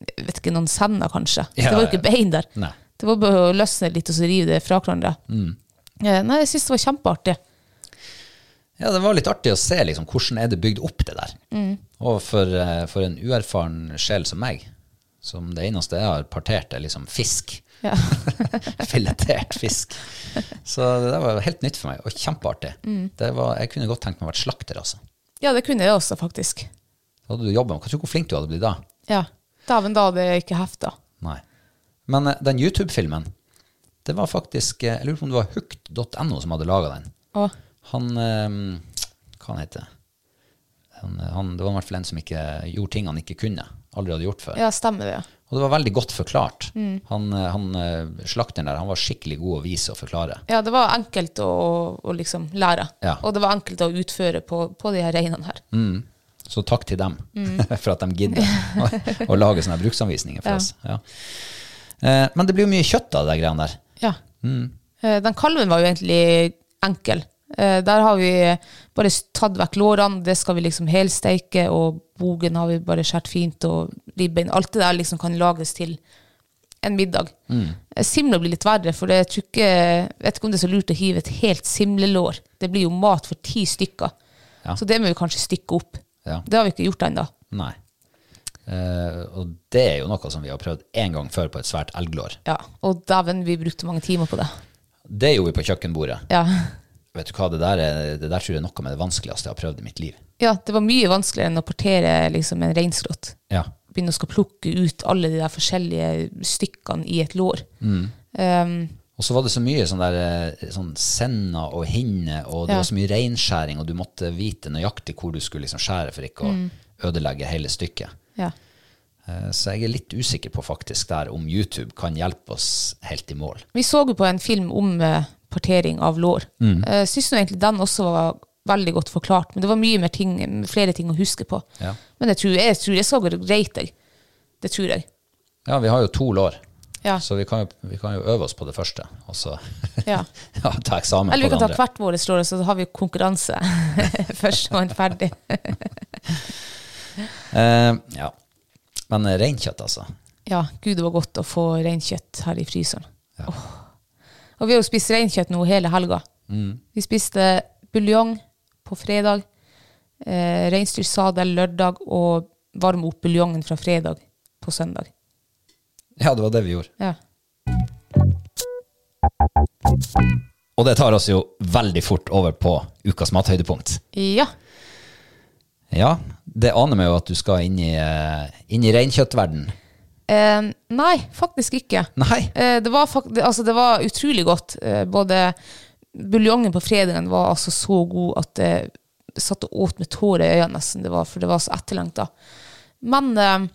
C: jeg vet ikke, noen sender, kanskje.
B: Ja,
C: det var jo ikke
B: ja.
C: bein der.
B: Nei.
C: Det var bare å løsne litt og så rive det fra hverandre.
B: Mm.
C: Eh, Nei, jeg syns det var kjempeartig.
B: Ja, det var litt artig å se liksom, hvordan er det bygd opp det der. Og for, eh, for en uerfaren sjel som meg, som det eneste jeg har partert, er liksom fisk.
C: Ja.
B: Filetert fisk. Så det der var helt nytt for meg, og kjempeartig. Det var, jeg kunne godt tenkt meg å være slakter, altså.
C: ja, det kunne jeg også, faktisk.
B: Da hadde du jobba med Kan du tro hvor flink du hadde blitt da?
C: Ja. Dæven, da hadde jeg ikke hefta.
B: Nei. Men eh, den YouTube-filmen, det var faktisk eh, Jeg lurer på om det var hooked.no som hadde laga den.
C: Og,
B: Han eh, Hva han heter eh, han? Han, det var i hvert fall en som ikke gjorde ting han ikke kunne. Aldri hadde gjort før.
C: ja, Mm. stemmer det. ja.
B: Og det var veldig godt forklart. Han, eh, han eh, slakteren der, han var skikkelig god å vise og forklare.
C: Ja, det var enkelt å, å liksom lære.
B: Ja. Mm.
C: Og det var enkelt å utføre på, på de her reinene her.
B: Så takk til dem for at de gidder å, å lage sånne bruksanvisninger for
C: Mm. Ja.
B: oss. Ja. Eh, Men det blir jo mye kjøtt av de greiene der. Mm.
C: Ja. Eh, Den kalven var jo egentlig enkel. Eh, Der har vi bare tatt vekk lårene, det skal vi liksom helsteike, og bogen har vi bare skjært fint, og ribbein. Alt det der liksom kan lages til en middag. Eh, Simla blir litt verre, for det- jeg tror ikke, jeg vet ikke om det er så lurt å hive et helt simlelår. Det blir jo mat for ti stykker.
B: Ja.
C: Så det må vi kanskje stykke opp.
B: Ja.
C: Det har vi ikke gjort ennå.
B: Nei. Eh, og det er jo noe som vi har prøvd én gang før på et svært elglår.
C: Ja. Og dæven, vi brukte mange timer på det.
B: Det gjorde vi på kjøkkenbordet.
C: Ja.
B: Vet du hva, det der, er, det der tror jeg er noe med det vanskeligste jeg har prøvd i mitt liv.
C: ja, det var mye vanskeligere enn å partere liksom, en reinskrott.
B: Ja.
C: begynne å skal plukke ut alle de der forskjellige stykkene i et lår.
B: Mm.
C: Um,
B: Og så var det så mye sånn der eh, sånn senna og hinne, og det
C: Ja.
B: var så mye reinskjæring, og du måtte vite nøyaktig hvor du skulle liksom skjære for ikke å ødelegge hele stykket.
C: ja.
B: Eh, Så jeg er litt usikker på faktisk der om YouTube kan hjelpe oss helt i mål.
C: Vi så jo på en film om eh, partering av lår. Mm. Syns nå egentlig den også var veldig godt forklart, men det var mye mer ting, flere ting å huske på.
B: Ja.
C: Men jeg tror jeg, tror jeg skal gå greit, jeg. Det tror jeg.
B: Ja, vi har jo to lår,
C: Ja.
B: så vi kan, jo, vi kan jo øve oss på det første, og så
C: Ja.
B: ja, ta eksamen
C: Eller vi
B: på
C: kan
B: det
C: ta
B: andre.
C: hvert vårt lår, så har vi konkurranse. Førstemann ferdig.
B: Eh, ja. Men eh, reinkjøtt, altså.
C: Ja, gud, det var godt å få reinkjøtt her i fryseren. Åh. Og vi har jo spist reinkjøtt nå hele helga. Vi spiste buljong på fredag, eh, reinsdyrsadel lørdag og varme opp buljongen fra fredag på søndag.
B: Ja, det var det vi gjorde.
C: Ja.
B: Og det tar oss jo veldig fort over på ukas mathøydepunkt.
C: ja.
B: Ja, det aner meg jo at du skal inn i, eh, inn i reinkjøttverden.
C: Eh, nei, faktisk ikke.
B: Nei?
C: Eh, det, var fak det- altså, det var utrolig godt. Eh, både buljongen på fredagen var altså så god at jeg satt og åt med tårer i øynene, nesten, det var, for det var så etterlengta. Men eh,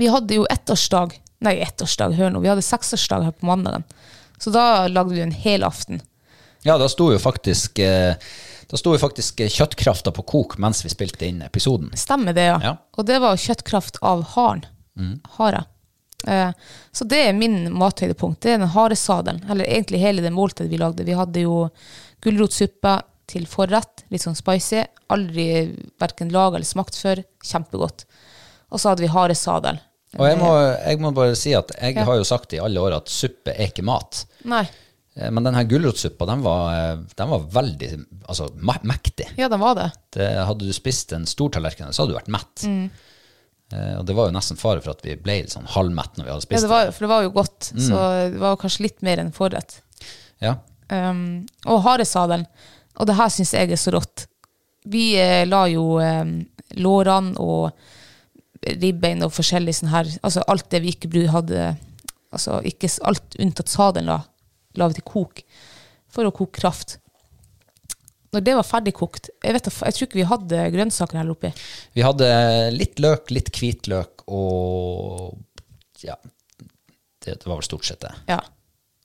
C: vi hadde jo ettårsdag Nei, ettårsdag, hør nå. Vi hadde seksårsdag her på mandagen. Så da lagde vi en hel aften.
B: Ja, da sto jo faktisk, eh, da sto jo faktisk eh, kjøttkrafta på kok mens vi spilte inn episoden.
C: Stemmer det, ja.
B: Ja.
C: Og det var kjøttkraft av haren. Hare. Eh, så det er min mathøydepunkt. Det er den haresadelen. Eller egentlig hele det måltidet vi lagde. Vi hadde jo gulrotsuppe til forrett, litt sånn spicy. Aldri verken laga eller smakt før. Kjempegodt. Og så hadde vi haresadel.
B: Og jeg må, jeg må bare si at jeg
C: Ja.
B: har jo sagt i alle år at suppe er ikke mat.
C: Nei.
B: Eh, Men den her gulrotsuppa, den var, eh, den var veldig altså, me- mektig.
C: Ja, den var det.
B: Det, eh, hadde du spist en stor tallerken, så hadde du vært mett.
C: Mm.
B: Eh, og det var jo nesten fare for at vi ble litt sånn halvmett når vi hadde
C: Ja,
B: spist
C: det var, for det var jo godt. Så det var kanskje litt mer enn forrett.
B: det. Ja.
C: Um, og haresadelen. Og det her syns jeg er så rått. Vi eh, la jo eh, lårene og ribbein og forskjellig sånn her Altså alt det vi ikke bru- hadde Altså ikke s- alt unntatt sadelen, da, la vi til kok for å koke kraft. Når det var ferdigkokt Jeg, vet, da f- jeg tror ikke vi hadde grønnsaker her oppi.
B: Vi hadde litt løk, litt hvitløk og Ja, det, det var vel stort sett det.
C: Ja.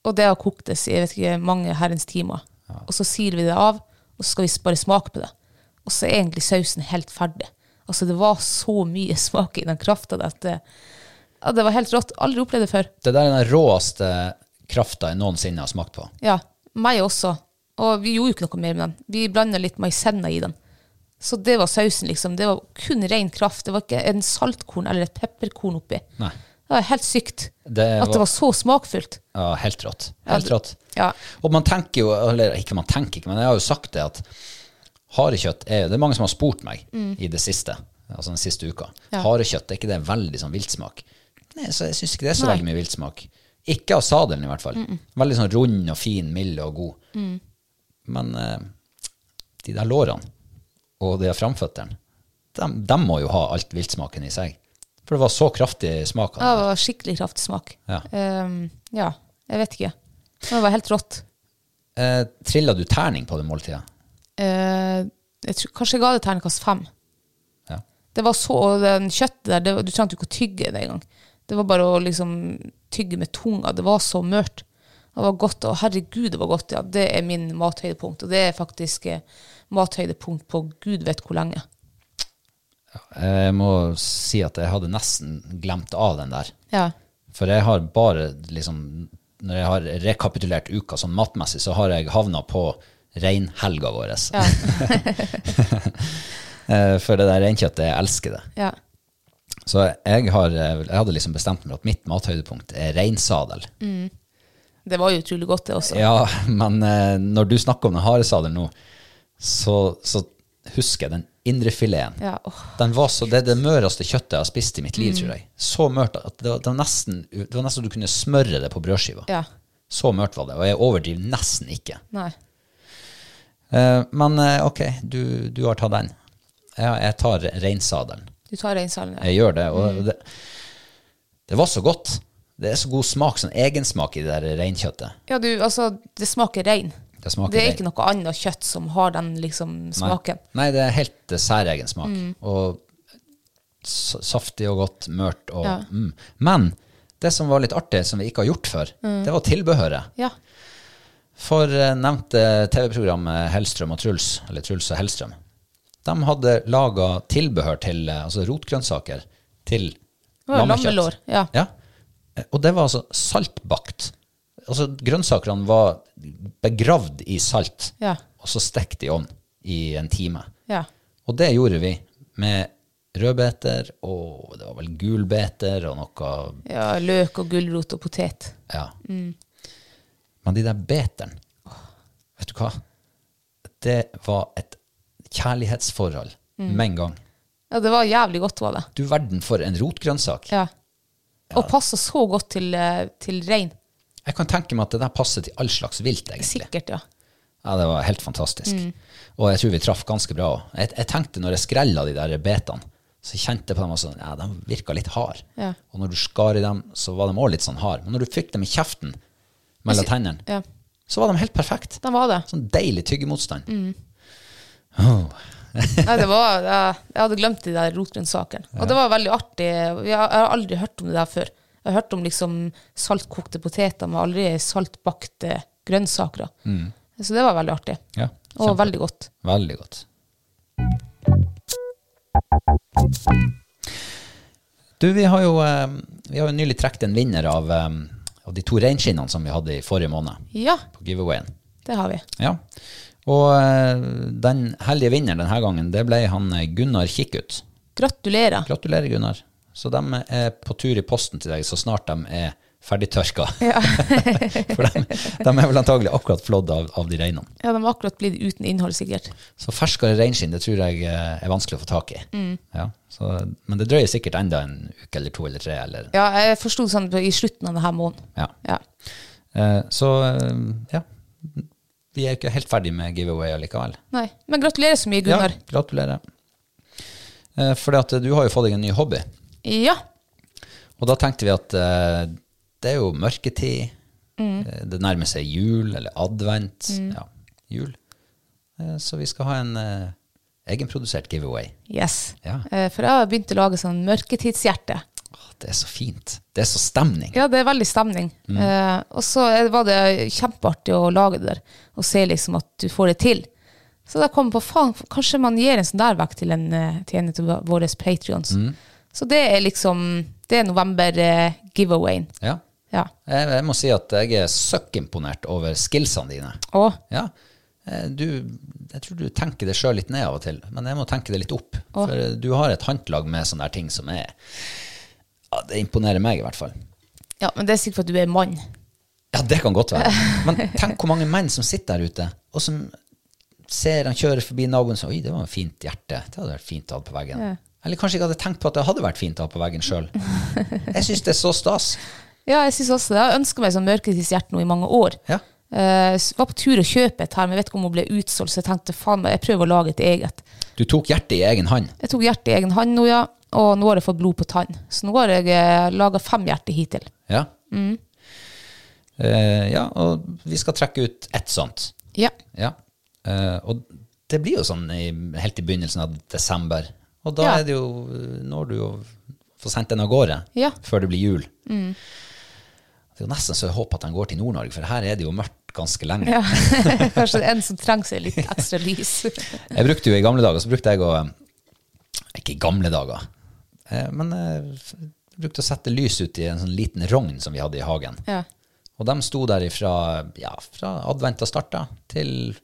C: Og det har koktes i jeg vet ikke, mange herrens timer. Og så siler vi det av, og så skal vi bare smake på det. Og så er egentlig sausen helt ferdig. Altså, det var så mye smak i den krafta at det, ja, det var helt rått. Aldri opplevd det før.
B: Det der er den råeste krafta jeg noensinne har smakt på.
C: Ja, meg også. Og vi gjorde jo ikke noe mer med den. Vi blanda litt maisenna i den. Så det var sausen, liksom. Det var kun ren kraft. Det var ikke en saltkorn eller et pepperkorn oppi.
B: Nei.
C: Det var helt sykt.
B: Det
C: At det
B: var-
C: var så smakfullt.
B: Ja, helt rått. Helt
C: Ja,
B: rått.
C: Ja.
B: Og man tenker jo, eller ikke man tenker ikke, men jeg har jo sagt det at harekjøtt er Det er mange som har spurt meg i det siste, altså den siste uka.
C: Mm. Ja.
B: Harekjøtt, er ikke det veldig sånn viltsmak? Nei, så jeg syns ikke det er så
C: Nei.
B: veldig mye viltsmak. Ikke av sadelen, i hvert fall. Veldig sånn rund og fin, mild og god.
C: Mm.
B: Men eh, de der lårene og de der framføttene, de, må jo ha alt viltsmaken i seg. For det var så kraftig smak av
C: Ja,
B: det.
C: det var skikkelig kraftig smak.
B: Ja.
C: Ehm, ja, jeg vet ikke. Men det var helt rått.
B: Eh, Trilla du terning på det måltidet?
C: Eh, jeg tror, kanskje jeg ga det terningkast fem.
B: Ja.
C: Det var så, og den kjøttet der, det, var- du trengte jo ikke å tygge det engang. Det var bare å liksom tygge med tunga. Det var så mørkt. Det var godt. Og herregud, det var godt. Ja, det er min mathøydepunkt. Og det er faktisk eh, mathøydepunkt på gud vet hvor lenge.
B: Jeg må si at jeg hadde nesten glemt av den der.
C: Ja.
B: For jeg har bare liksom Når jeg har rekapitulert uka sånn matmessig, så har jeg havna på reinhelga vår. Eh, For det der reinkjøttet, jeg elsker det.
C: ja.
B: Så jeg, har, jeg hadde liksom bestemt meg at mitt mathøydepunkt er reinsadel.
C: Det var jo utrolig godt, det også.
B: Ja, men eh, når du snakker om den haresadelen nå, så, så husker jeg den indre fileten.
C: Ja, åh.
B: Den var så, det er det møreste kjøttet jeg har spist i mitt liv, tror
C: Mm.
B: jeg. Så mørt at det var, det var nesten det var nesten du kunne smøre det på brødskiva.
C: Ja.
B: Så mørt var det, og jeg overdriver nesten ikke.
C: Nei.
B: Eh, men eh, ok, du, du har tatt den. Ja, jeg tar reinsadelen.
C: Du tar reinsalen, ja.
B: Jeg gjør det,
C: Mm.
B: og det, det var så godt. Det er så god smak, sånn egensmak i det der reinkjøttet.
C: Ja, du, altså, det smaker rein.
B: Det smaker
C: Det er
B: rein.
C: ikke noe annet kjøtt som har den liksom smaken. Mm.
B: Nei, Nei det er helt eh, særegen smak. Og s- saftig og godt, mørt og
C: Ja.
B: mm. Men det som var litt artig, som vi ikke har gjort før,
C: Mm.
B: det var tilbehøret.
C: Ja.
B: For eh, nevnte TV-programmet Hellstrøm og Truls, eller Truls og Hellstrøm, de hadde laga tilbehør til eh, altså rotgrønnsaker til
C: var jo
B: lammekjøtt.
C: lammelår, ja.
B: Eh, Og det var altså saltbakt. Altså grønnsakene var begravd i salt,
C: Ja.
B: og så stekt i ovn i en time.
C: Ja.
B: Og det gjorde vi med rødbeter og det var vel gulbeter og noe
C: ja løk og gulrot og potet.
B: Ja. Men de der beterne, vet du hva? Det var et kjærlighetsforhold med en gang.
C: Ja, det var jævlig godt, var det.
B: Du verden for en rotgrønnsak.
C: Ja. Og passer så godt til, eh, til rein.
B: Jeg kan tenke meg at det der passer til all slags vilt, egentlig.
C: Sikkert, ja.
B: Ja, det var helt fantastisk.
C: Mm.
B: Og jeg tror vi traff ganske bra òg. Jeg, jeg tenkte når jeg skrella de der betene, så kjente jeg på dem også, ja, de virka litt hard.
C: Ja.
B: Og når du skar i dem, så var de òg litt sånn hard. Men når du fikk dem i kjeften mellom tennene,
C: ja.
B: så var de helt perfekt.
C: Den var det.
B: Sånn deilig tyggemotstand.
C: Mm. Nei, det var, jeg, jeg hadde glemt de der rotgrønnsakene. Og det var veldig artig. Jeg har jeg har aldri hørt om det der før. Jeg har hørt om liksom saltkokte poteter, men aldri saltbakte grønnsaker. da.
B: Mm.
C: Så det var veldig artig.
B: Ja,
C: Og
B: kjempe-
C: veldig godt.
B: Veldig godt. Du, vi har jo, eh, vi har jo nylig trukket en vinner av, eh, av de to reinskinnene som vi hadde i forrige måned,
C: Ja,
B: på giveawayen.
C: det har vi.
B: Ja. Og eh, den heldige vinneren denne gangen, det ble han eh, Gunnar Kikkut.
C: Gratulerer.
B: Gratulerer, Gunnar. Så de er på tur i posten til deg så snart de er ferdigtørka. For de, de er vel antagelig akkurat flådd av, av de reinene.
C: Ja, de har akkurat blitt uten innhold, sikkert.
B: Så ferskere reinskinn det tror jeg eh, er vanskelig å få tak i. Ja, så, men det drøyer sikkert enda en uke eller to eller tre. Eller,
C: Ja, jeg forsto det sånn på- i slutten av denne måneden.
B: ja.
C: Ja.
B: Eh, så eh, ja, vi er jo ikke helt ferdig med giveaway allikevel.
C: Nei. Men gratulerer så mye, Gunnar.
B: Ja, gratulerer. Eh, fordi at eh, du har jo fått deg en ny hobby.
C: Ja.
B: Og da tenkte vi at eh, det er jo mørketid.
C: Mm.
B: Eh, Det nærmer seg jul eller advent. Ja, jul. Eh, så vi skal ha en eh, egenprodusert giveaway.
C: Yes.
B: Ja.
C: Eh, For jeg har begynt å lage sånn mørketidshjerte.
B: Åh, Det er så fint. Det er så stemning.
C: Ja, det er veldig stemning. Eh, og så er- var det kjempeartig å lage det der, og se liksom at du får det til. Så da kom jeg på, faen, kanskje man gir en sånn der vekk til en, eh, til en av våre Patreons. Så det er liksom, det er november-giveawayen.
B: Ja.
C: ja.
B: Jeg, jeg må si at jeg er søkkimponert over skillsene dine.
C: Og
B: Ja. Eh, Du, jeg tror du tenker det sjøl litt ned av og til, men jeg må tenke det litt opp. For eh, du har et håndlag med sånne her ting som er ja, Det imponerer meg, i hvert fall.
C: Ja, men det er sikkert for at du er mann.
B: Ja, det kan godt være. Men tenk hvor mange menn som sitter der ute, og som ser han kjører forbi naboen og sier Oi, det var et fint hjerte. Det hadde vært fint å ha på veggen. Eller kanskje ikke hadde tenkt på at det hadde vært fint å ha på veggen sjøl. Jeg syns det er så stas.
C: Ja, jeg synes også det. Jeg ønsker meg sånn mørketidshjerte nå i mange år.
B: Ja.
C: Eh, s- var på tur å kjøpe et her, men jeg vet ikke om hun ble utsolgt, så jeg tenkte faen meg, jeg prøver å lage et eget.
B: Du tok hjertet i egen hånd.
C: Jeg tok hjertet i egen hånd nå, ja, og nå har jeg fått blod på tann. Så nå har jeg eh, laget fem hjerter hittil.
B: Ja. Eh, ja, og vi skal trekke ut ett sånt.
C: Ja.
B: Ja. Eh, og det blir jo sånn i, helt i begynnelsen av desember. Og da
C: Ja.
B: er det jo, når du jo Få sendt den av gårde
C: Ja. Mm.
B: før det blir jul. Det er jo nesten så jeg håper at den går til Nord-Norge, for her er det jo mørkt ganske lenge.
C: Ja. Kanskje det er en som trenger seg litt ekstra lys.
B: Jeg brukte jo i gamle dager, så brukte jeg å Ikke i gamle dager, eh, men eh, f- brukte å sette lys ut i en sånn liten rogn som vi hadde i hagen.
C: Ja.
B: Og de sto der ifra, ja, fra adventa starta til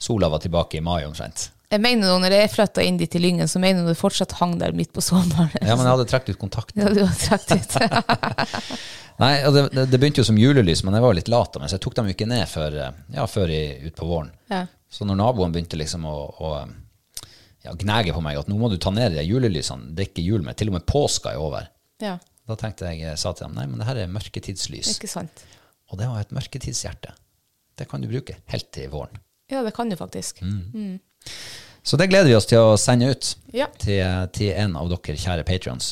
B: sola var tilbake i mai omtrent.
C: Jeg mener nå, når jeg flytta inn dit i Lyngen, så mener jeg det fortsatt hang der midt på sommeren.
B: Ja, men jeg hadde trukket ut kontakten.
C: Ja, du har trukket ut.
B: Nei, og det, det, det begynte jo som julelys, men jeg var jo litt lat av meg, så jeg tok dem jo ikke ned før, eh, ja, før i, utpå våren.
C: Ja.
B: Så når naboen begynte liksom å, å eh, ja, gnage på meg at nå må du ta ned de julelysene, det er ikke jul mer, til og med påska er over.
C: Ja,
B: Da tenkte jeg, jeg sa til dem, nei, men det her er mørketidslys.
C: ikke sant.
B: Og det var et mørketidshjerte. Det kan du bruke helt til våren.
C: Ja, det kan du faktisk.
B: Så det gleder vi oss til å sende ut
C: Ja.
B: til, til en av dere kjære patrions.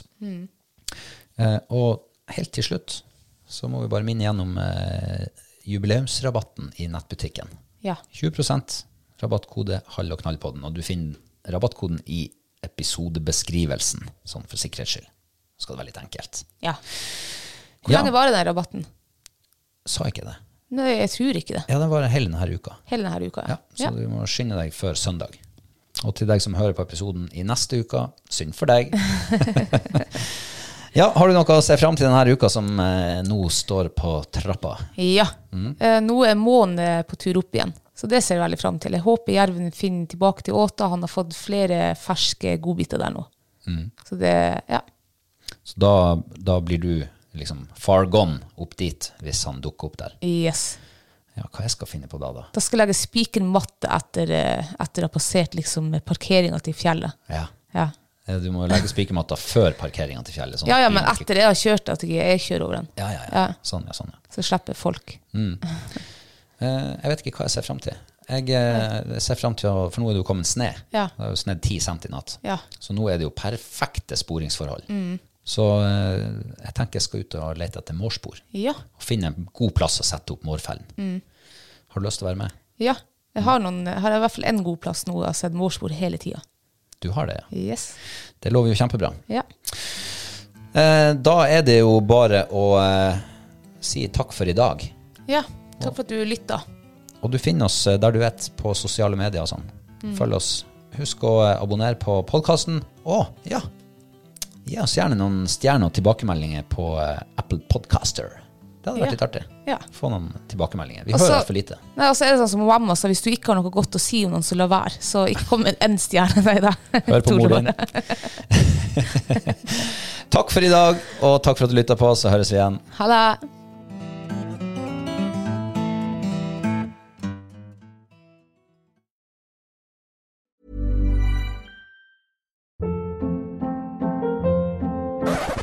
B: Eh, og helt til slutt så må vi bare minne gjennom eh, jubileumsrabatten i nettbutikken.
C: Ja.
B: 20 rabattkode halv og knallpodden, og du finner rabattkoden i episodebeskrivelsen, sånn for sikkerhets skyld. Så skal det være litt enkelt.
C: ja. Hvor
B: Ja.
C: lenge varer den rabatten?
B: Sa jeg ikke det?
C: Nei, jeg tror ikke det.
B: Ja, den varer hele denne uka.
C: Hele denne uka.
B: Ja, så du må skynde deg før søndag. Og til deg som hører på episoden i neste uke, synd for deg. ja, har du noe å se fram til denne uka som eh, nå står på trappa?
C: Ja.
B: Mm.
C: Eh, Nå er månen eh, på tur opp igjen, så det ser jeg veldig fram til. Jeg håper jerven finner tilbake til åta. Han har fått flere ferske godbiter der nå.
B: Mm.
C: Så det, ja.
B: Så da, da blir du liksom far gone opp dit hvis han dukker opp der.
C: Yes.
B: Ja, hva jeg skal finne på da, da?
C: Da skal jeg legge spikermatte etter, eh, etter å ha passert liksom parkeringa til fjellet.
B: Ja.
C: Ja.
B: Eh, Du må jo legge spikermatta før parkeringa til fjellet. sånn
C: ja,
B: at
C: ja,
B: bilen
C: men
B: ikke-
C: etter jeg har kjørt, at jeg, jeg kjører over den.
B: ja, ja, ja.
C: Ja.
B: Sånn, ja, sånn, ja.
C: Så slipper folk.
B: Eh, Jeg vet ikke hva jeg ser fram til. Jeg eh, ser frem til å, For nå er det jo kommet snø.
C: Ja.
B: Det har jo snødd 10 cent i natt.
C: Ja.
B: Så nå er det jo perfekte sporingsforhold. Så eh, jeg tenker jeg skal ut og lete etter mårspor.
C: Ja.
B: Og finne en god plass å sette opp mårfellen. Har du lyst til å være med?
C: ja. Jeg har, noen, jeg har i hvert fall én god plass nå. Jeg har sett mårspor hele tida.
B: Du har det, ja.
C: Yes.
B: Det lover jo kjempebra.
C: Ja.
B: Eh, Da er det jo bare å eh, si takk for i dag.
C: ja. Takk for at du lytta.
B: Og du finner oss eh, der du vet, på sosiale medier og sånn. Følg oss. Husk å eh, abonnere på podkasten. Å, ja! Gi oss gjerne noen stjerner og tilbakemeldinger på eh, Apple Podcaster. Det hadde vært litt artig.
C: Ja.
B: Få noen tilbakemeldinger. Vi
C: Og så-
B: hører for lite.
C: Nei, og så er det sånn som mamma sa, hvis du ikke har noe godt å si om noen, så la være. Så ikke kom med én stjerne. Nei da.
B: Hør på
C: Tuller
B: moren.
C: bare.
B: Takk for i dag, og takk for at du lytta på. Så høres vi igjen.
C: Ha det.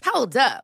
D: Hold up.